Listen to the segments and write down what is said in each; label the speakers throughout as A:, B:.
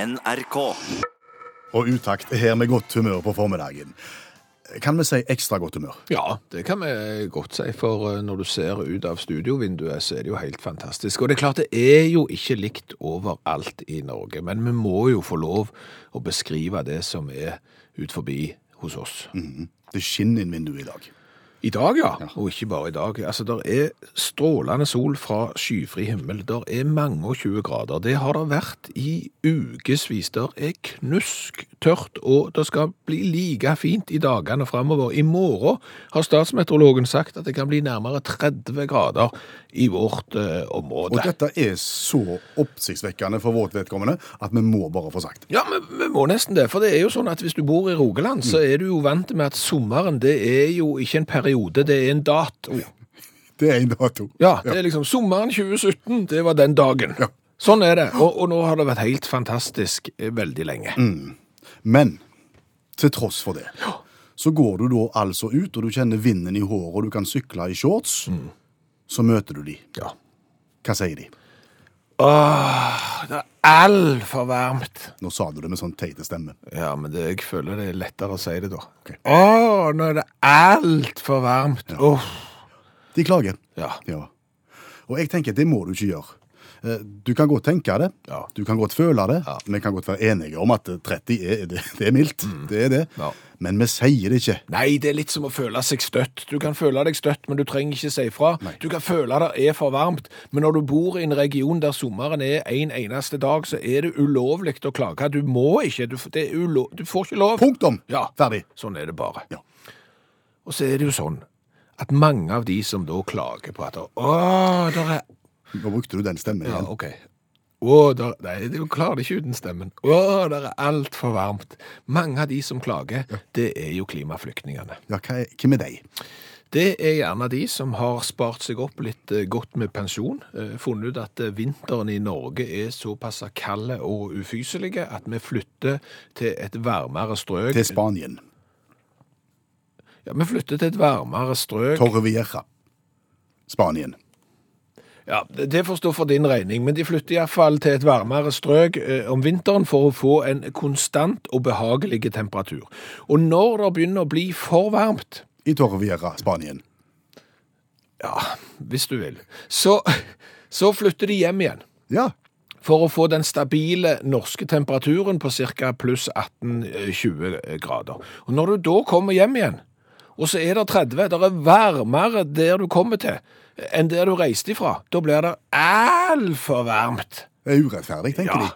A: NRK.
B: Og utakt er her med godt humør på formiddagen. Kan vi si ekstra godt humør?
C: Ja, det kan vi godt si, for eh, når du ser ut av studiovinduet, så er det jo helt fantastisk. Og det er klart, det er jo ikke likt overalt i Norge, men vi må jo få lov å beskrive det som er ut forbi hos oss.
B: Det skinner inn vinduet i dag.
C: I dag, ja. Og ikke bare i dag. Altså, der er strålende sol fra skyfri himmel. Der er mange og 20 grader. Det har det vært i ukevis. Der er knusktørt, og det skal bli like fint i dagene framover. I morgen har statsmeteorologen sagt at det kan bli nærmere 30 grader i vårt eh,
B: Og
C: område.
B: dette er så oppsiktsvekkende for vårt vedkommende at vi må bare få sagt.
C: Ja, men vi må nesten det. For det er jo sånn at hvis du bor i Rogaland, så er du jo vant med at sommeren, det er jo ikke en periode, det er en dato.
B: Det er en dato.
C: Ja, det er liksom sommeren 2017, det var den dagen.
B: Ja.
C: Sånn er det, og, og nå har det vært helt fantastisk eh, veldig lenge.
B: Men til tross for det, så går du da altså ut, og du kjenner vinden i håret, og du kan sykle i shorts. Så møter du de.
C: Ja.
B: Hva sier de?
C: Åh, det er altfor varmt.
B: Nå sa du det med sånn teite stemme.
C: Ja, men det, jeg føler det er lettere å si det da. Åh, nå er det altfor varmt. Ja.
B: De klager.
C: ja.
B: Ja. Og jeg tenker, det må du ikke gjøre. Eh, Du kan godt tenke det,
C: Ja.
B: du kan godt føle det,
C: Ja.
B: vi kan godt være enige om at 30 er, det, det er mildt, det er det.
C: Mm. Ja.
B: Men vi sier det ikke.
C: Nei, det er litt som å føle seg støtt. Du kan føle deg støtt, men du trenger ikke si fra. Du kan føle det er for varmt, men når du bor i en region der sommeren er en eneste dag, så er det ulovlig å klage. Du må ikke. Du, f- det er ulo du får ikke lov.
B: Punktum!
C: Ja.
B: Ferdig.
C: Sånn er det bare.
B: Ja.
C: Og så er det jo sånn at mange av de som da klager på at Åh, der er
B: Nå brukte du den stemmen
C: ja,
B: igjen.
C: ok. Å, der, nei, du klarer det ikke uten stemmen. Å, det er altfor varmt. Mange av de som klager, det er jo klimaflyktningene.
B: Ja, hva er, hvem er de?
C: Det er gjerne de som har spart seg opp litt eh, godt med pensjon, eh, funnet ut at eh, vinteren i Norge er såpass kalde og ufyselige at vi flytter til et varmere strøk.
B: Til Spanien.
C: Ja, vi flytter til et varmere strøk.
B: Torrevieja. Spanien.
C: Ja, det det får stå for din regning, men de flytter iallfall til et varmere strøk eh, om vinteren for å få en konstant og behagelig temperatur. Og når det begynner å bli for varmt,
B: I Torrevieja, Spanien.
C: ja, hvis du vil, så, så flytter de hjem igjen.
B: Ja,
C: for å få den stabile norske temperaturen på ca. pluss 18-20 eh, grader. Og Når du da kommer hjem igjen, og så er det 30, det er varmere der du kommer til enn der du reiste ifra, da blir det altfor varmt.
B: det er urettferdig, tenker de.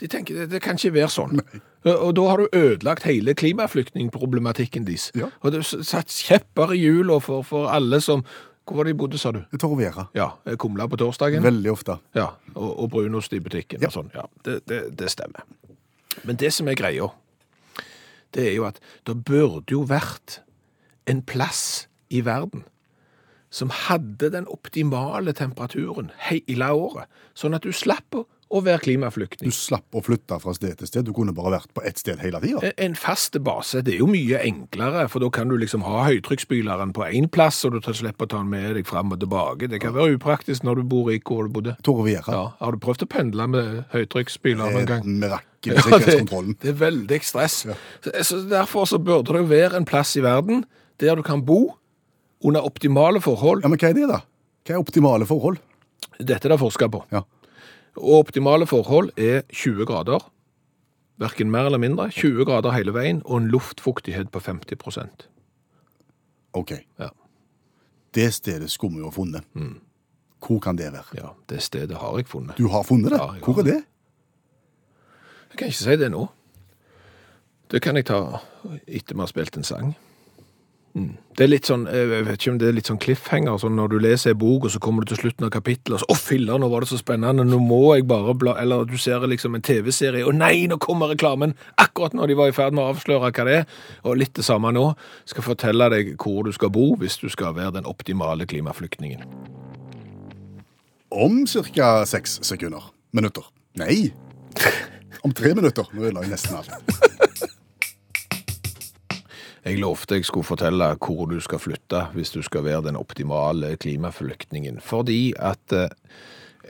C: De tenker det, det kan ikke være sånn. Og da har du ødelagt hele klimaflyktningproblematikken deres.
B: Ja.
C: Og du har satt kjepper i hjula for, for alle som Hvor var det de bodde, sa du?
B: Det er Torrevieja.
C: Ja, eh, Kumla på torsdagen?
B: Veldig ofte.
C: Ja, og, og brunost i butikken og sånn. Ja, det, det, det stemmer. Men det som er greia, det er jo at det burde jo vært en plass i verden som hadde den optimale temperaturen hele året, sånn at du slapp å, å være
B: Du
C: klimaflyktning.
B: slapp å flytte fra sted til sted. Du kunne bare vært på ett sted hele tida.
C: En- En fast base, det er jo mye enklere, for da kan du liksom ha høytrykksspyleren på én plass, og du tar- slipper å ta den med deg fram og tilbake. Det kan være upraktisk når du bor i hvor du bodde.
B: Torrevieja.
C: Ja, Eh, har du prøvd å pendle med høytrykksspyler
B: Det
C: noen
B: er
C: gang?
B: et mirakel i
C: Ja, det,
B: sikkerhetskontrollen.
C: det er veldig stress. Så, så Derfor så burde det jo være en plass i verden der du kan bo under optimale forhold.
B: Ja, men hva er det, da? Hva er optimale forhold?
C: Dette er det forska på.
B: Ja.
C: Og optimale forhold er 20 grader. Verken mer eller mindre. 20 grader hele veien og en luftfuktighet på 50
B: OK.
C: Ja.
B: Det stedet skulle vi jo ha funnet.
C: Mm.
B: Hvor kan det være?
C: ja, det stedet har jeg funnet.
B: Du har funnet det?
C: Ja, jeg
B: Hvor
C: har
B: er det?
C: Jeg kan ikke si det nå. Det kan jeg ta etter vi har spilt en sang. Mm. Det er litt sånn eh, jeg vet ikke om det er litt sånn cliffhanger, sånn når du leser en bok, og så kommer du til slutten av kapittelet, og så 'Å, filler, nå var det så spennende, nå må jeg bare bla' Eller du ser liksom en TV-serie, 'Å nei, nå kommer reklamen!' Akkurat når de var i ferd med å avsløre hva det er. Og litt det samme nå. Skal fortelle deg hvor du skal bo hvis du skal være den optimale klimaflyktningen.
B: Om ca. seks sekunder. Minutter. Nei! Om tre minutter. Nå ødela jeg nesten alt.
C: Jeg lovte jeg skulle fortelle hvor du skal flytte hvis du skal være den optimale klimaflyktningen. Fordi at eh,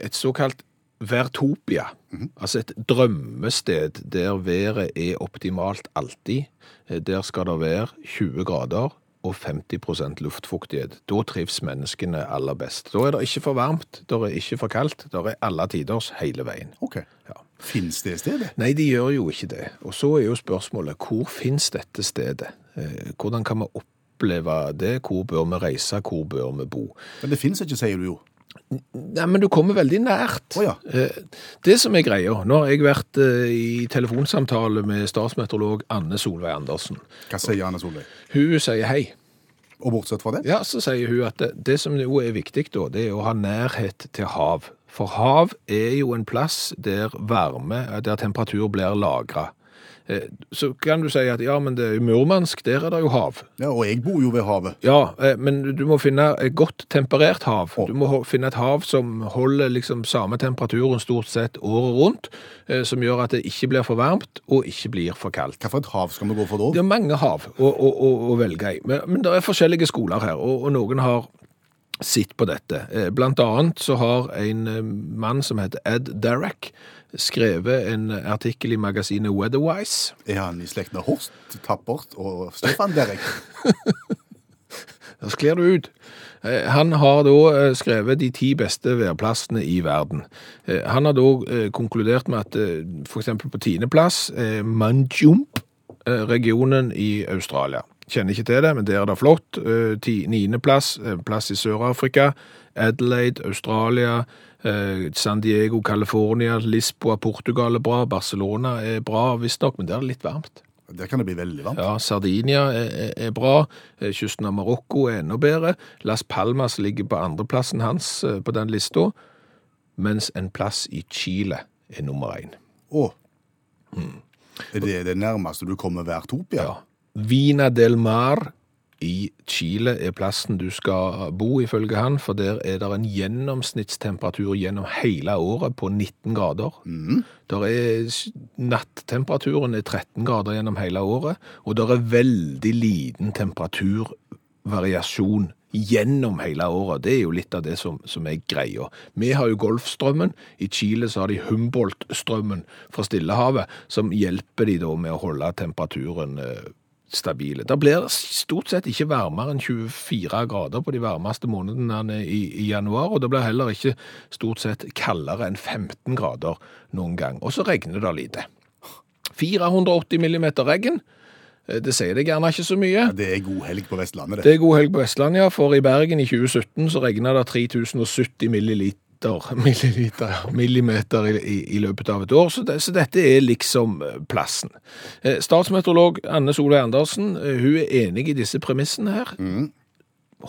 C: et såkalt Vertopia, altså et drømmested der været er optimalt alltid. Eh, Der skal det være 20 grader og 50 luftfuktighet. Da trives menneskene aller best. Da er det ikke for varmt, da er ikke for kaldt, da er alle tiders hele veien.
B: OK.
C: Ja.
B: Fins det stedet?
C: Nei, de gjør jo ikke det. Og så er jo spørsmålet, hvor finnes dette stedet? Eh, Hvordan kan vi oppleve det? Hvor bør vi reise? Hvor bør vi bo?
B: Men det fins ikke, sier du jo.
C: Nei, men du kommer veldig nært.
B: Å ja.
C: Eh, Det som er greia, nå har jeg vært eh, i telefonsamtale med statsmeteorolog Anne Solveig Andersen.
B: Hva sier Anne Solveig?
C: Hun sier hei.
B: Og bortsett fra det?
C: Ja, så sier hun at det, det som jo er viktig da, det er å ha nærhet til hav. For hav er jo en plass der varme, der temperatur blir lagret. Eh, Så kan du si at ja, men det er jo Murmansk, der er det jo hav.
B: Ja, og jeg bor jo ved havet.
C: Ja, eh, men du må finne et godt temperert hav. Du må ho- finne et hav som holder liksom samme temperaturen stort sett året rundt, eh, som gjør at det ikke blir for varmt og ikke blir for kaldt.
B: Hvilket hav skal vi gå for
C: Det
B: da?
C: er mange hav å, å, å, å velge i, men, men det er forskjellige skoler her, og, og noen har sitt på dette. Eh, Blant annet så har en eh, mann som heter Ed Derek skrevet en artikkel i magasinet Weatherwise.
B: Er han i slekt med Horst, Tappert og Stefan Derek?
C: Da sklir du ut. Eh, Han har da eh, skrevet de ti beste værplassene i verden. Eh, Han har da eh, konkludert med at eh, for eksempel på tiendeplass eh, Manjump, eh, regionen i Australia. Kjenner ikke til det, men der er det flott. Eh, ti- Niendeplass, eh, plass i Sør-Afrika. Adelaide, Australia. eh, San Diego, California. Lisboa, Portugal er bra. Barcelona er bra, visstnok, men der er det litt varmt.
B: Der kan det bli veldig varmt.
C: Ja, Sardinia er, er, er bra. Eh, Kysten av Marokko er enda bedre. Las Palmas ligger på andreplassen hans eh, på den lista, mens en plass i Chile er nummer én.
B: Å. Er det det nærmeste du kommer Værtopia?
C: Mm. Ja. Vina del Mar i Chile er plassen du skal bo, ifølge han, for der er det en gjennomsnittstemperatur gjennom hele året på 19 grader.
B: Mm.
C: Der er, natttemperaturen er 13 grader gjennom hele året, og der er veldig liten temperaturvariasjon gjennom hele året. Det er jo litt av det som, som er greia. Vi har jo Golfstrømmen. I Chile så har de Humboldt-strømmen fra Stillehavet, som hjelper de da med å holde temperaturen eh, stabile. Det blir stort sett ikke varmere enn 24 grader på de varmeste månedene i, i januar, og det blir heller ikke stort sett kaldere enn 15 grader noen gang. Og så regner det lite. 480 millimeter regn, eh, det sier deg gjerne ikke så mye.
B: Det er god helg på Vestlandet, det.
C: Det er god helg på Vestlandet, ja, for i Bergen i 2017 så regnet det 3070 milliliter, milliliter ja, millimeter i, i, i løpet av et år, så, det, så dette er liksom eh, plassen. Eh, statsmeteorolog Anne Solveig Andersen, eh, hun er enig i disse premissene her.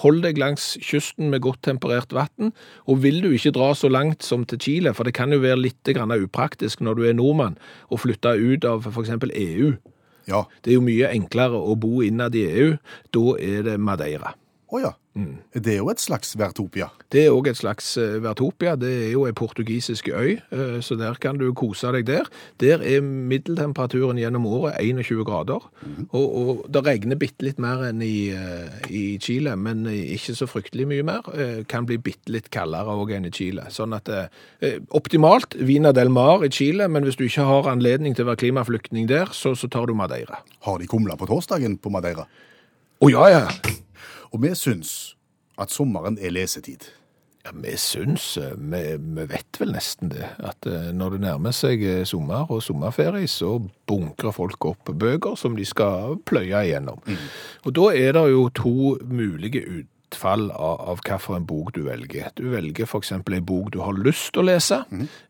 C: Hold deg langs kysten med godt temperert vann, og vil du ikke dra så langt som til Chile, for det kan jo være litt grann upraktisk når du er nordmann og flytter ut av for eksempel EU.
B: Ja.
C: Det er jo mye enklere å bo innad i EU, da er det Madeira.
B: Å ja. Det er jo et slags Værtopia.
C: Det er òg et slags eh, Vertopia. Det er jo ei portugisisk øy, eh, så der kan du kose deg der. Der er middeltemperaturen gjennom året 21 grader. Og, og det regner bitte litt mer enn i, eh, i Chile, men eh, ikke så fryktelig mye mer. Eh, Kan bli bitte litt kaldere òg enn i Chile. Sånn at eh, Optimalt Vina del Mar i Chile, men hvis du ikke har anledning til å være klimaflyktning der, så, så tar du Madeira.
B: Har de kumla på torsdagen på Madeira?
C: Å ja, ja!
B: Og vi syns at sommeren er lesetid.
C: Ja, Vi syns, eh, vi, vi vet vel nesten det, at eh, når det nærmer seg eh, sommer og sommerferie, så bunkrer folk opp bøker som de skal pløye igjennom. Og da er det jo to mulige utfall av, av hvilken bok du velger. Du velger f.eks. ei bok du har lyst til å lese,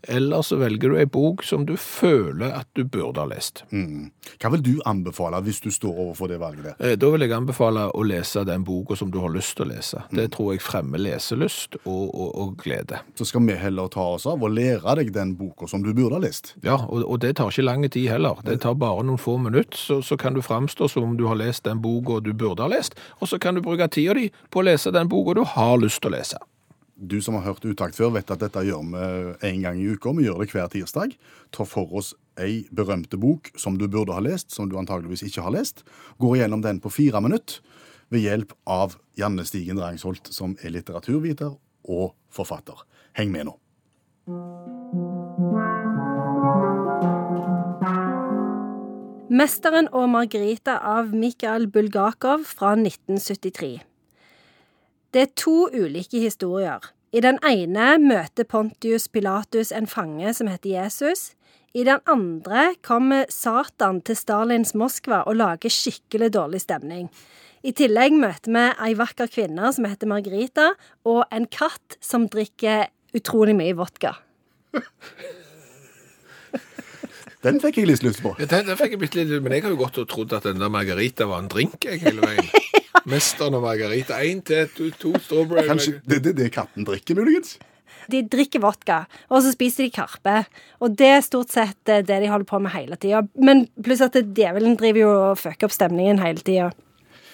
C: eller så velger du ei bok som du føler at du burde ha lest.
B: Mm. Hva vil du anbefale hvis du står overfor det valget der?
C: Eh, Da vil jeg anbefale å lese den boka som du har lyst til å lese. Det tror jeg fremmer leselyst og, og, og glede.
B: Så skal vi heller ta oss av og lære deg den boka som du burde ha lest.
C: Ja, og, og det tar ikke lang tid heller. Det tar bare noen få minutter, så, så kan du framstå som om du har lest den boka du burde ha lest, og så kan du bruke tida di på å lese den boka du har lyst til å lese.
B: Du som har hørt Utakt før, vet at dette gjør vi en gang i uka. Vi gjør det hver tirsdag. Ta for oss ei berømte bok som du burde ha lest, som du antageligvis ikke har lest. Går gjennom den på fire minutter ved hjelp av Janne Stigen Rangsholt, som er litteraturviter og forfatter. Heng med nå.
A: 'Mesteren og Margarita' av Mikhail Bulgakov fra 1973. Det er to ulike historier. I den ene møter Pontius Pilatus en fange som heter Jesus. I den andre kommer Satan til Stalins Moskva og lager skikkelig dårlig stemning. I tillegg møter vi ei vakker kvinne som heter Margarita, og en katt som drikker utrolig mye vodka.
B: Den fikk jeg litt lyst på.
C: Ja, Den, den fikk jeg bitte litt, men jeg har jo gått og trodd at den der margarita var en drink jeg, hele veien. Mesteren og margarita. Én til, to, to strawberry.
B: Kanskje det er det, det katten drikker, muligens?
A: De drikker vodka, og så spiser de karpe. Og det er stort sett eh, det de holder på med hele tida. Men pluss at djevelen driver jo og fucker opp stemningen hele tida.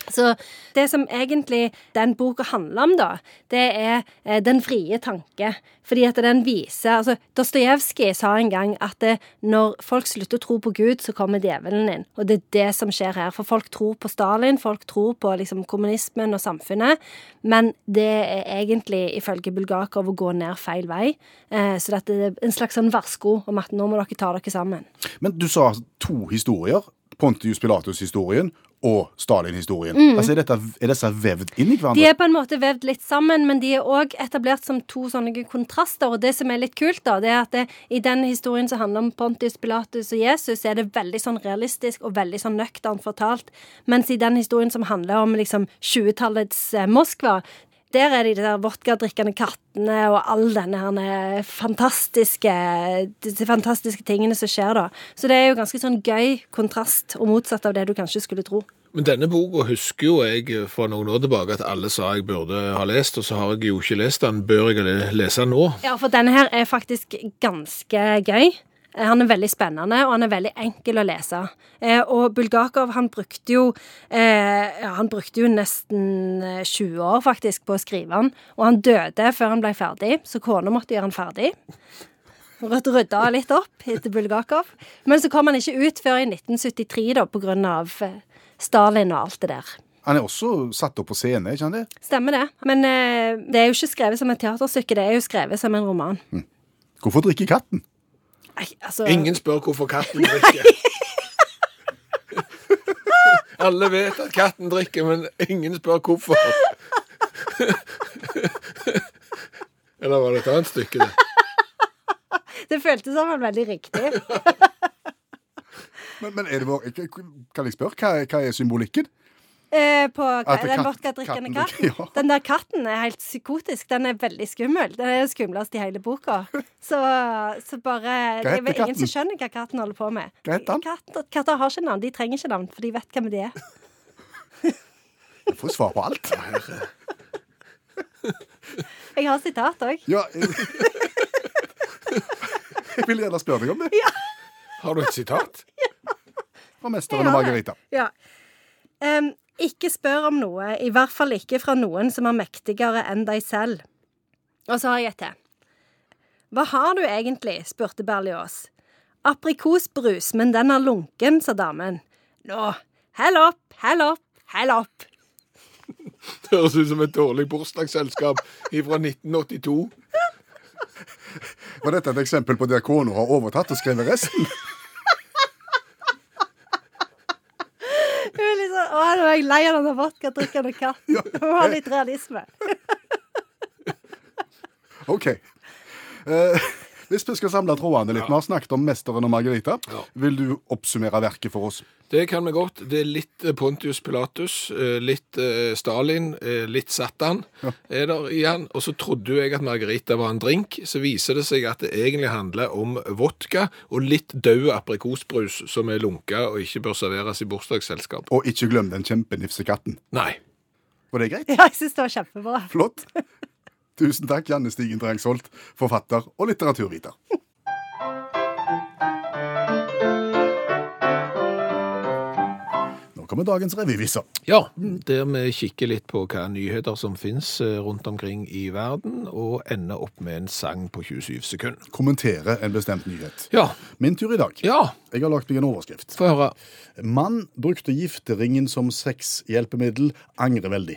A: Så det som egentlig den boka handler om, da, det er eh, den frie tanke. Fordi at den viser altså Dostojevskij sa en gang at eh, når folk slutter å tro på Gud, så kommer djevelen inn. Og det er det som skjer her. For folk tror på Stalin, folk tror på liksom kommunismen og samfunnet. Men det er egentlig, ifølge Bulgakov, å gå ned feil vei. Eh, Så dette er en slags sånn varsko om at nå må dere ta dere sammen.
B: Men du sa to historier. Pontius Pilatus-historien og Stalin-historien. Altså, er, dette, er disse vevd inn i
A: De
B: hverandre?
A: er på en måte vevd litt sammen, men de er òg etablert som to sånne kontraster. Og det som er litt kult, da, det er at det, i den historien som handler om Pontius Pilatus og Jesus, så er det veldig sånn realistisk og veldig sånn nøkternt fortalt. Mens i den historien som handler om liksom 20-tallets eh, Moskva, der er de der vodkadrikkende kattene og all denne herne fantastiske, disse fantastiske tingene som skjer, da. Så det er jo ganske sånn gøy kontrast, og motsatt av det du kanskje skulle tro.
C: Men denne boka husker jo jeg fra noen år tilbake at alle sa jeg burde ha lest, og så har jeg jo ikke lest den. Bør jeg le- lese den nå?
A: Ja, for denne her er faktisk ganske gøy. Eh, Han er veldig spennende, og han er veldig enkel å lese. Eh, og Bulgakov han brukte jo eh, ja, Han brukte jo nesten eh, 20 år faktisk på å skrive han, og han døde før han ble ferdig, så kona måtte gjøre han ferdig. Rødt rydda litt opp etter Bulgakov. Men så kom han ikke ut før i 1973, da, på grunn av eh, Stalin og alt det der.
B: Han er også satt opp på scene, ikke sant det?
A: Stemmer det. Men eh, det er jo ikke skrevet som et teaterstykke, det er jo skrevet som en roman.
B: Hvorfor drikker katten?
A: Nei, altså...
C: Ingen spør hvorfor katten drikker. Alle vet at katten drikker, men ingen spør hvorfor. Eller var det et annet stykke, det?
A: Det føltes som han veldig riktig.
B: Men, men er det vår, kan jeg spørre, hva, hva er symbolikken?
A: Eh, på
B: At
A: den
B: katt-
A: vodkadrikkende
B: katten
A: katten.
B: drikker, ja.
A: Den der katten er helt psykotisk. Den er veldig skummel. Den er den skumleste i hele boka. Så, så bare
B: Hva
A: Det er
B: heter
A: vel ingen
B: katten?
A: som skjønner hva katten holder på med.
B: Hva heter han?
A: Katter, katter har ikke navn. De trenger ikke navn, for de vet hvem de er.
B: Jeg får svar på alt.
A: Jeg har sitat òg.
B: Ja, jeg, jeg vil gjerne spørre deg om det.
C: Har du et sitat?
B: Fra Mesteren og Margarita.
A: Ja. Em, ikke spør om noe, i hvert fall ikke fra noen som er mektigere enn deg selv. Og så har jeg et til. Hva har du egentlig? spurte Berlioz. Aprikosbrus, men den er lunken, sa damen. Nå, hell opp, hell opp, hell opp.
C: Det høres ut som et dårlig bursdagsselskap fra 1982.
B: Var dette et eksempel på der kona har overtatt og skrevet resten?
A: Hun er litt sånn, Å, nå er jeg lei av den vodkadrikkende katten. Hun har litt realisme.
B: OK. Eh, hvis vi skal samle trådene litt, vi har snakket om Mesteren og Margarita.
C: Ja.
B: Vil du oppsummere verket for oss?
C: Det kan vi godt. Det er litt eh, Pontius Pilatus, eh, litt eh, Stalin, eh, litt Satan er der i han. Og så trodde jo jeg at margarita var en drink. Så viser det seg at det egentlig handler om vodka og litt død aprikosbrus som er lunka og ikke bør serveres i bursdagsselskap.
B: Og ikke glem den kjempenifsekatten.
C: Nei.
B: Var det greit?
A: Ja, jeg syns det var kjempebra.
B: Flott. Tusen takk, Janne Stigen Drangsholt, forfatter og litteraturviter. Nå kommer dagens revyviser.
C: Ja, der vi kikker litt på hva nyheter som finnes eh, rundt omkring i verden, og ender opp med en sang på 27 sekunder.
B: Kommentere en bestemt nyhet.
C: Ja.
B: Min tur i dag.
C: Ja,
B: Jeg har lagt meg en overskrift.
C: få høre.
B: Mann brukte gifteringen som sexhjelpemiddel, angrer veldig.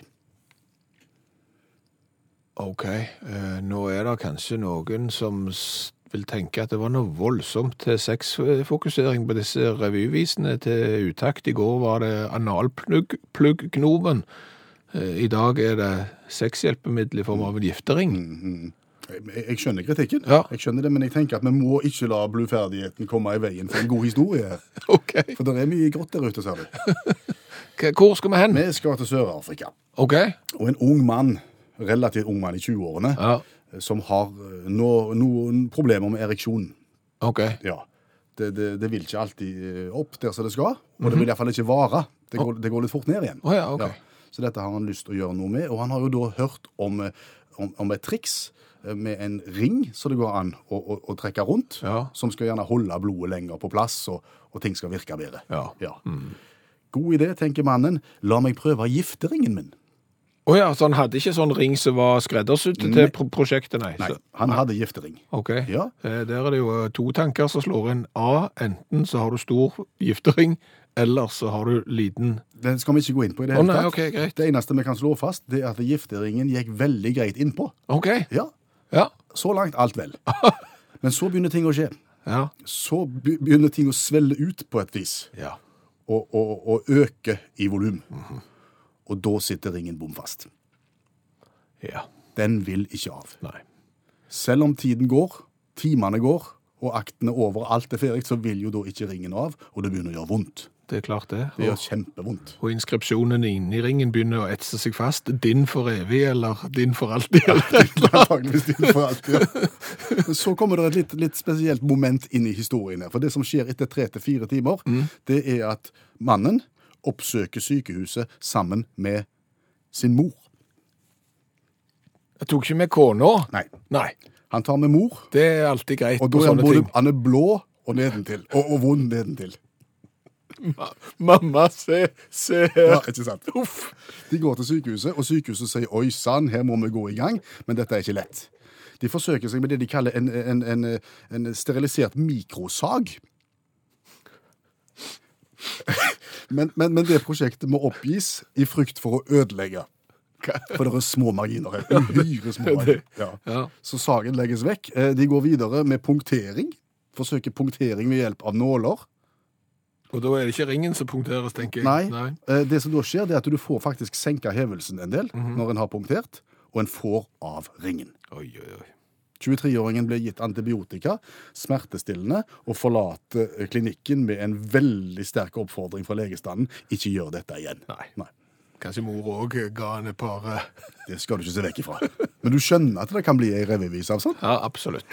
C: Ok, eh, nå er det kanskje noen som s- vil tenke at det var noe voldsomt til sexfokusering på disse revyvisene til utakt. I går var det analplugg-knoben. Eh, I dag er det sexhjelpemiddel i form av en giftering.
B: Jeg, jeg skjønner kritikken,
C: Ja.
B: jeg skjønner det, men jeg tenker at vi må ikke la bluferdigheten komme i veien for en god historie. her.
C: Ok,
B: For det er mye grått der ute, ser du.
C: K- Hvor skal vi hen?
B: Vi skal til Sør-Afrika.
C: Ok.
B: Og en ung mann, relativt ung mann i 20-årene,
C: Ja,
B: som har eh, no, noen problemer med ereksjon.
C: ok.
B: Ja. Det, det, det vil ikke alltid eh, opp der som det skal, og det vil iallfall ikke vare. Det går, det går litt fort ned igjen.
C: Mhm. Å ja, ok.
B: Så dette har han lyst til å gjøre noe med, og han har jo da hørt om, eh, om, om et triks eh, med en ring som det går an å, å, å trekke rundt,
C: Ja.
B: som skal gjerne holde blodet lenger på plass, og, og ting skal virke bedre.
C: Ja. Mm.
B: God idé, tenker mannen. La meg prøve gifteringen min.
C: Å ja, så han hadde ikke sånn ring som var skreddersydd til pro prosjektet, nei.
B: Nei,
C: Så-
B: han hadde giftering.
C: Ok.
B: Ja.
C: Eh, Der er det jo eh, to tanker som slår inn. A, enten så har du stor giftering, eller så har du liten.
B: Den skal vi ikke gå inn på i det
C: Å
B: hele
C: nei,
B: tatt.
C: ok, greit.
B: Det eneste vi kan slå fast, det er at gifteringen gikk veldig greit innpå.
C: Ok,
B: Ja,
C: ja.
B: så langt alt vel. Men så begynner ting å skje.
C: Ja.
B: Så be- begynner ting å svelle ut på et vis,
C: Ja.
B: og, og, og øke i volum.
C: Mhm.
B: Og da sitter ringen bom fast.
C: Ja.
B: Den vil ikke av.
C: Nei.
B: Selv om tiden går, timene går, og aktene over alt er ferdig, så vil jo da ikke ringen av, og det begynner å gjøre vondt.
C: Det er klart det.
B: Det
C: Og,
B: gjør kjempevondt.
C: og inskripsjonen inni ringen begynner å etse seg fast. Din for evig, eller din for alltid. Eller.
B: Antageligvis din for alltid. ja. Men Så kommer det et litt, litt spesielt moment inn i historien her. For det som skjer etter tre til fire timer, det er at mannen oppsøker sykehuset sammen med sin mor.
C: Jeg tok ikke med kona.
B: Nei,
C: Nei.
B: han tar med mor,
C: Det er alltid greit
B: og
C: på
B: da er han,
C: sånne
B: både,
C: ting.
B: han er blå og nedentil. Og, og vond nedentil.
C: Mamma, se, se
B: Ja,
C: her.
B: ikke sant?
C: Uff.
B: De går til sykehuset, og sykehuset sier oi sann, her må vi gå i gang, men dette er ikke lett. De forsøker seg med det de kaller en, en, en, en sterilisert mikrosag. Men, men, men det prosjektet må oppgis i frykt for å ødelegge. For det er små marginer her. Uhyre små marginer. Ja.
C: Ja.
B: Så sagen legges vekk. Eh, De går videre med punktering. Forsøker punktering ved hjelp av nåler.
C: Og da er det ikke ringen som punkteres, tenker jeg.
B: Nei. Eh, Det som da skjer, det er at du får faktisk senka hevelsen en del når en har punktert, og en får av ringen.
C: Oi, oi, oi.
B: 23-åringen ble gitt antibiotika, smertestillende, og forlater eh, klinikken med en veldig sterk oppfordring fra legestanden ikke gjør dette igjen.
C: Nei. Kanskje mor òg ga han et par eh,
B: Det skal du ikke se vekk ifra. Men du skjønner at det kan bli ei revyvise av sånt?
C: Ja, absolutt.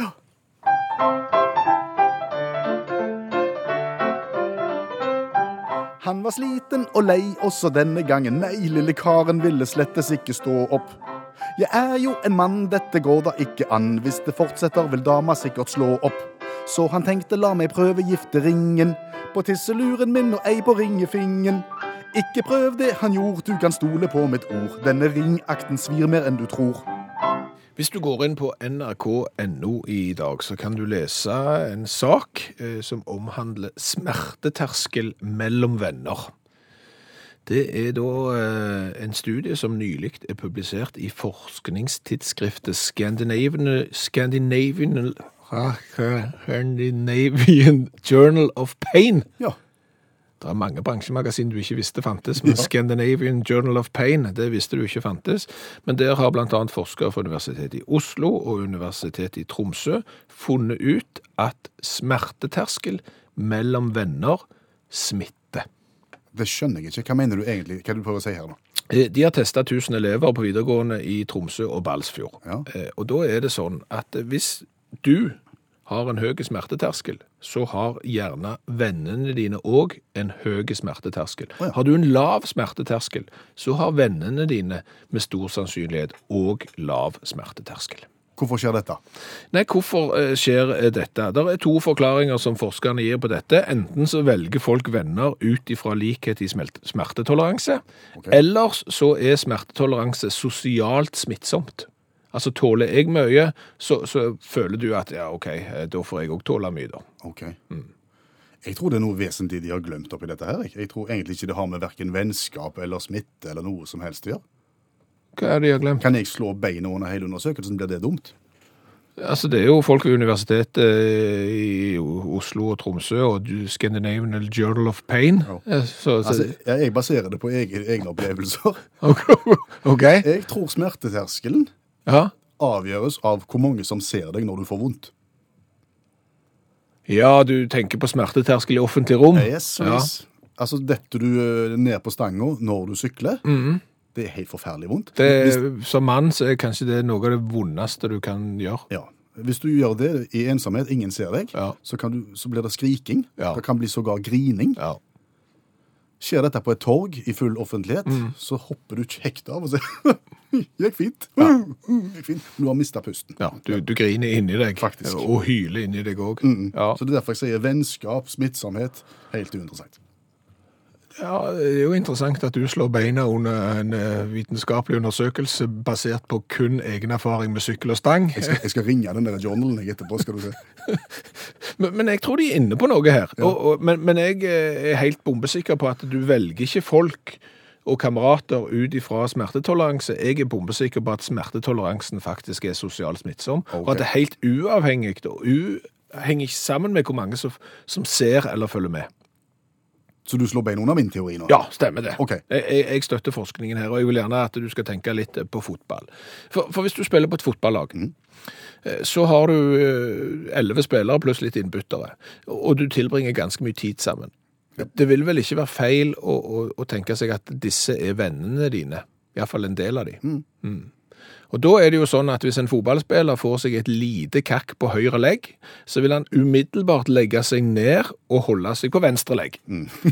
B: Han var sliten og lei også denne gangen. Nei, lille karen ville slettes ikke stå opp. Jeg er jo en mann, dette går da ikke an. Hvis det fortsetter, vil dama sikkert slå opp. Så han tenkte la meg prøve gifteringen. På tisseluren min og ei på ringefingen. Ikke prøv det han gjorde, du kan stole på mitt ord. Denne ringakten svir mer enn du tror.
C: Hvis du går inn på nrk.no i dag, så kan du lese en sak eh, som omhandler smerteterskel mellom venner. Det er da eh, en studie som nylig er publisert i forskningstidsskriftet Scandinavian, Scandinavian, Scandinavian Journal of Pain.
B: Ja,
C: Det er mange bransjemagasin du ikke visste fantes, men Scandinavian Journal of Pain, det visste du ikke fantes. Men der har blant annet forskere fra Universitetet i Oslo og Universitetet i Tromsø funnet ut at smerteterskel mellom venner smitter.
B: det skjønner jeg ikke. Hva mener du egentlig? Hva er det du prøver å si her nå?
C: Eh, De har testa 1000 elever på videregående i Tromsø og Balsfjord.
B: Ja.
C: Eh, Og da er det sånn at hvis du har en høy smerteterskel, så har gjerne vennene dine òg en høy smerteterskel.
B: Å ja.
C: Har du en lav smerteterskel, så har vennene dine med stor sannsynlighet òg lav smerteterskel.
B: Hvorfor skjer dette?
C: Nei, hvorfor eh, skjer eh, dette? Det er to forklaringer som forskerne gir på dette. Enten så velger folk venner ut ifra likhet i smelt- smertetoleranse,
B: Ok.
C: ellers så er smertetoleranse sosialt smittsomt. Altså tåler jeg mye, så, så føler du at ja, ok, eh, da får jeg òg tåle mye, da.
B: Ok. Jeg tror det er noe vesentlig de har glemt oppi dette her. Jeg, jeg tror egentlig ikke det har med verken vennskap eller smitte eller noe som helst å gjøre.
C: Hva er det jeg har glemt?
B: Kan jeg slå beina under hele undersøkelsen, blir det dumt?
C: Altså, det er jo folk ved Universitetet eh, i O- Oslo og Tromsø og du- Scandinavian Journal of Pain.
B: Ja.
C: Eh, Så, så,
B: Altså, jeg jeg baserer det på egen- egne opplevelser.
C: OK?
B: Jeg tror smerteterskelen
C: Ja.
B: avgjøres av hvor mange som ser deg når du får vondt.
C: ja, du tenker på smerteterskel i offentlig rom.
B: Yes, yes. Altså, detter du eh, ned på stanga når du sykler, det er helt forferdelig vondt. Hvis,
C: Mhm. Det, som mann så er kanskje det noe av det vondeste du kan gjøre.
B: ja. Hvis du gjør det i ensomhet, ingen ser deg,
C: Ja.
B: så, kan du, så blir det skriking.
C: Ja.
B: Det kan bli sågar grining.
C: Ja.
B: Skjer dette på et torg i full offentlighet,
C: Mm.
B: så hopper du kjekt av og sier Gikk fint. Gikk fint. Du har mista pusten.
C: Ja, du, du griner inni deg,
B: Faktisk.
C: og hyler inni deg
B: Mm,
C: òg. Ja.
B: Så det er derfor jeg sier vennskap, smittsomhet. Helt uinteressant.
C: ja, det er jo interessant at du slår beina under en eh, vitenskapelig undersøkelse basert på kun egen erfaring med sykkel og stang.
B: Jeg skal, jeg skal ringe den der journalen jeg etterpå, skal du se.
C: Men, men jeg tror de er inne på noe her. Og, og, men, men jeg eh, er helt bombesikker på at du velger ikke folk og kamerater ut ifra smertetoleranse. Jeg er bombesikker på at smertetoleransen faktisk er sosialt smittsom. Og at det er helt uavhengig og u henger ikke sammen med hvor mange som, som ser eller følger med.
B: Så du slår bein under min teori nå?
C: Ja, stemmer det.
B: Ok.
C: Jeg, jeg, jeg støtter forskningen her, og jeg vil gjerne at du skal tenke litt på fotball. For, for hvis du spiller på et fotballag, eh, så har du eh, elleve spillere pluss litt innbyttere, og og du tilbringer ganske mye tid sammen. Det vil vel ikke være feil å, å, å tenke seg at disse er vennene dine, iallfall en del av dem. Og da er det jo sånn at hvis en fotballspiller får seg et lite kakk på høyre legg, så vil han umiddelbart legge seg ned og holde seg på venstre legg.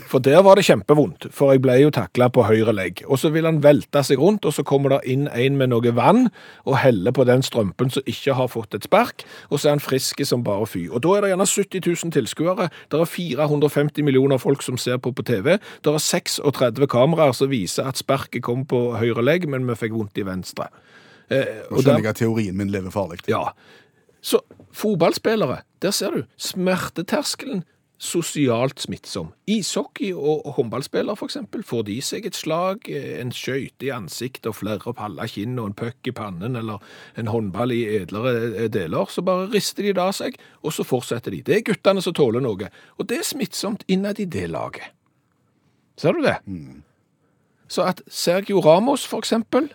C: For der var det kjempevondt, for jeg ble jo takla på høyre legg. Og så vil han velte seg rundt, og så kommer det inn en med noe vann og heller på den strømpen som ikke har fått et spark, og så er han frisk som bare fy. Og da er det gjerne 70 000 tilskuere, det er 450 millioner folk som ser på på TV, det er 36 kameraer som viser at sparket kom på høyre legg, men vi fikk vondt i venstre. Eh,
B: Nå skjønner jeg at teorien min lever farlig.
C: Ja. Så fotballspillere, der ser du. Smerteterskelen sosialt smittsom. Ishockey og håndballspillere, for eksempel, får de seg et slag, eh, en skøyte i ansiktet og flere paller kinn og en puck i pannen eller en håndball i edlere eh, deler, så bare rister de det av seg, og så fortsetter de. Det er guttene som tåler noe, og det er smittsomt innad i det laget. Ser du det? Så at Sergio Ramos, for eksempel,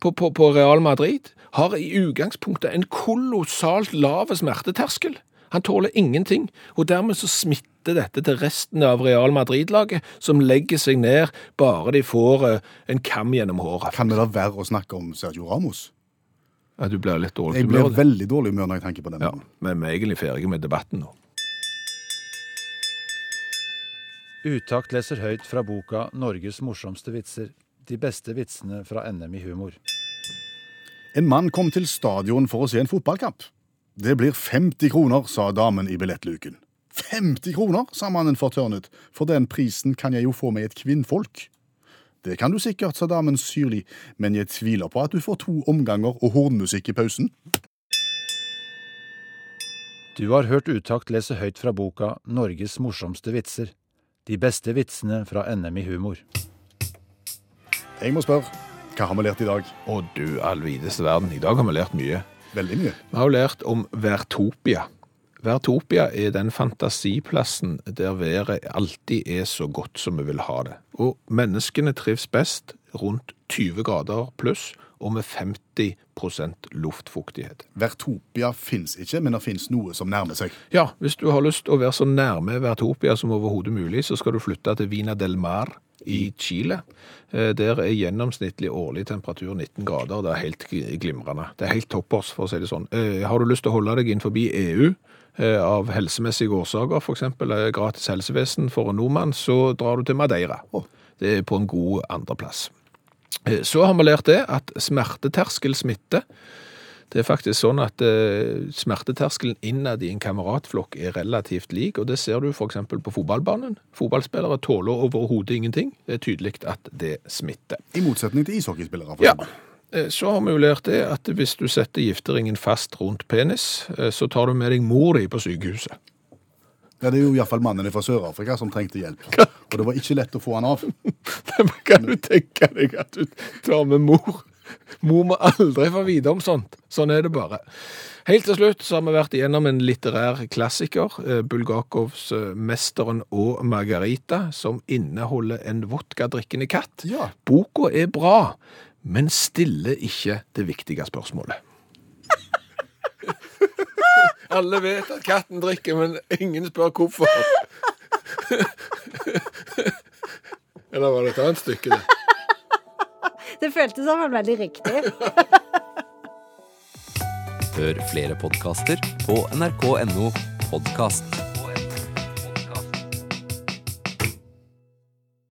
C: på, på, på Real Madrid har i utgangspunktet en kolossalt lav smerteterskel. Han tåler ingenting, og dermed så smitter dette til resten av Real Madrid-laget, som legger seg ned bare de får eh, en kam gjennom håret.
B: Kan det da være å snakke om Sergio Ramos?
C: Ja, du blir litt dårlig
B: Jeg blir veldig dårlig humør når jeg tenker på den.
C: Ja, men vi er egentlig ferdige med debatten nå.
D: Utakt leser høyt fra boka 'Norges morsomste vitser'. De beste vitsene fra NM i humor.
B: En mann kom til stadion for å se en fotballkamp. Det blir 50 kroner, sa damen i billettluken. 50 kroner, sa mannen fortørnet. For den prisen kan jeg jo få med et kvinnfolk. Det kan du sikkert, sa damen syrlig, men jeg tviler på at du får to omganger og hornmusikk i pausen.
D: Du har hørt Utakt lese høyt fra boka 'Norges morsomste vitser'. De beste vitsene fra NM i humor.
B: Jeg må spørre, hva har vi lært i dag?
C: Å du allvides verden, i dag har vi lært mye.
B: Veldig mye.
C: Vi har jo lært om Vertopia. Vertopia er den fantasiplassen der været alltid er så godt som vi vil ha det. Og menneskene trives best rundt 20 grader pluss og med 50 luftfuktighet.
B: Vertopia fins ikke, men det fins noe som nærmer seg.
C: Ja, hvis du har lyst å være så nærme Vertopia som overhodet mulig, så skal du flytte til Vina del Mar i Chile. Eh, Der er gjennomsnittlig årlig temperatur 19 grader. Det er helt glimrende. Det er helt toppers, for å si det sånn. Eh, Har du lyst til å holde deg inn forbi EU? eh, Av helsemessige årsaker, f.eks. gratis helsevesen for en nordmann, så drar du til Madeira. Det er på en god andreplass. Eh, Så har vi lært det at smerteterskel smitter. Det er faktisk sånn at eh, smerteterskelen innad i en kameratflokk er relativt lik, og det ser du f.eks. på fotballbanen. Fotballspillere tåler overhodet ingenting. Det er tydelig at det smitter.
B: I motsetning til ishockeyspillere. for
C: Ja.
B: eksempel.
C: Eh, Så har vi jo lært det at hvis du setter gifteringen fast rundt penis, eh, så tar du med deg mor di på sykehuset.
B: ja, Det er jo iallfall mannen fra Sør-Afrika som trengte hjelp. Og det var ikke lett å få han av.
C: Men kan du tenke deg at du tar med mor Mor må aldri få vite om sånt. Sånn er det bare. Helt til slutt så har vi vært igjennom en litterær klassiker, eh, Bulgakovs eh, 'Mesteren og Margarita', som inneholder en vodkadrikkende katt.
B: Ja.
C: Boka er bra, men stiller ikke det viktige spørsmålet. Alle vet at katten drikker, men ingen spør hvorfor. Eller var det et annet stykke, det?
A: Det føltes som han var veldig riktig.
E: Hør flere podkaster på nrk.no podkast.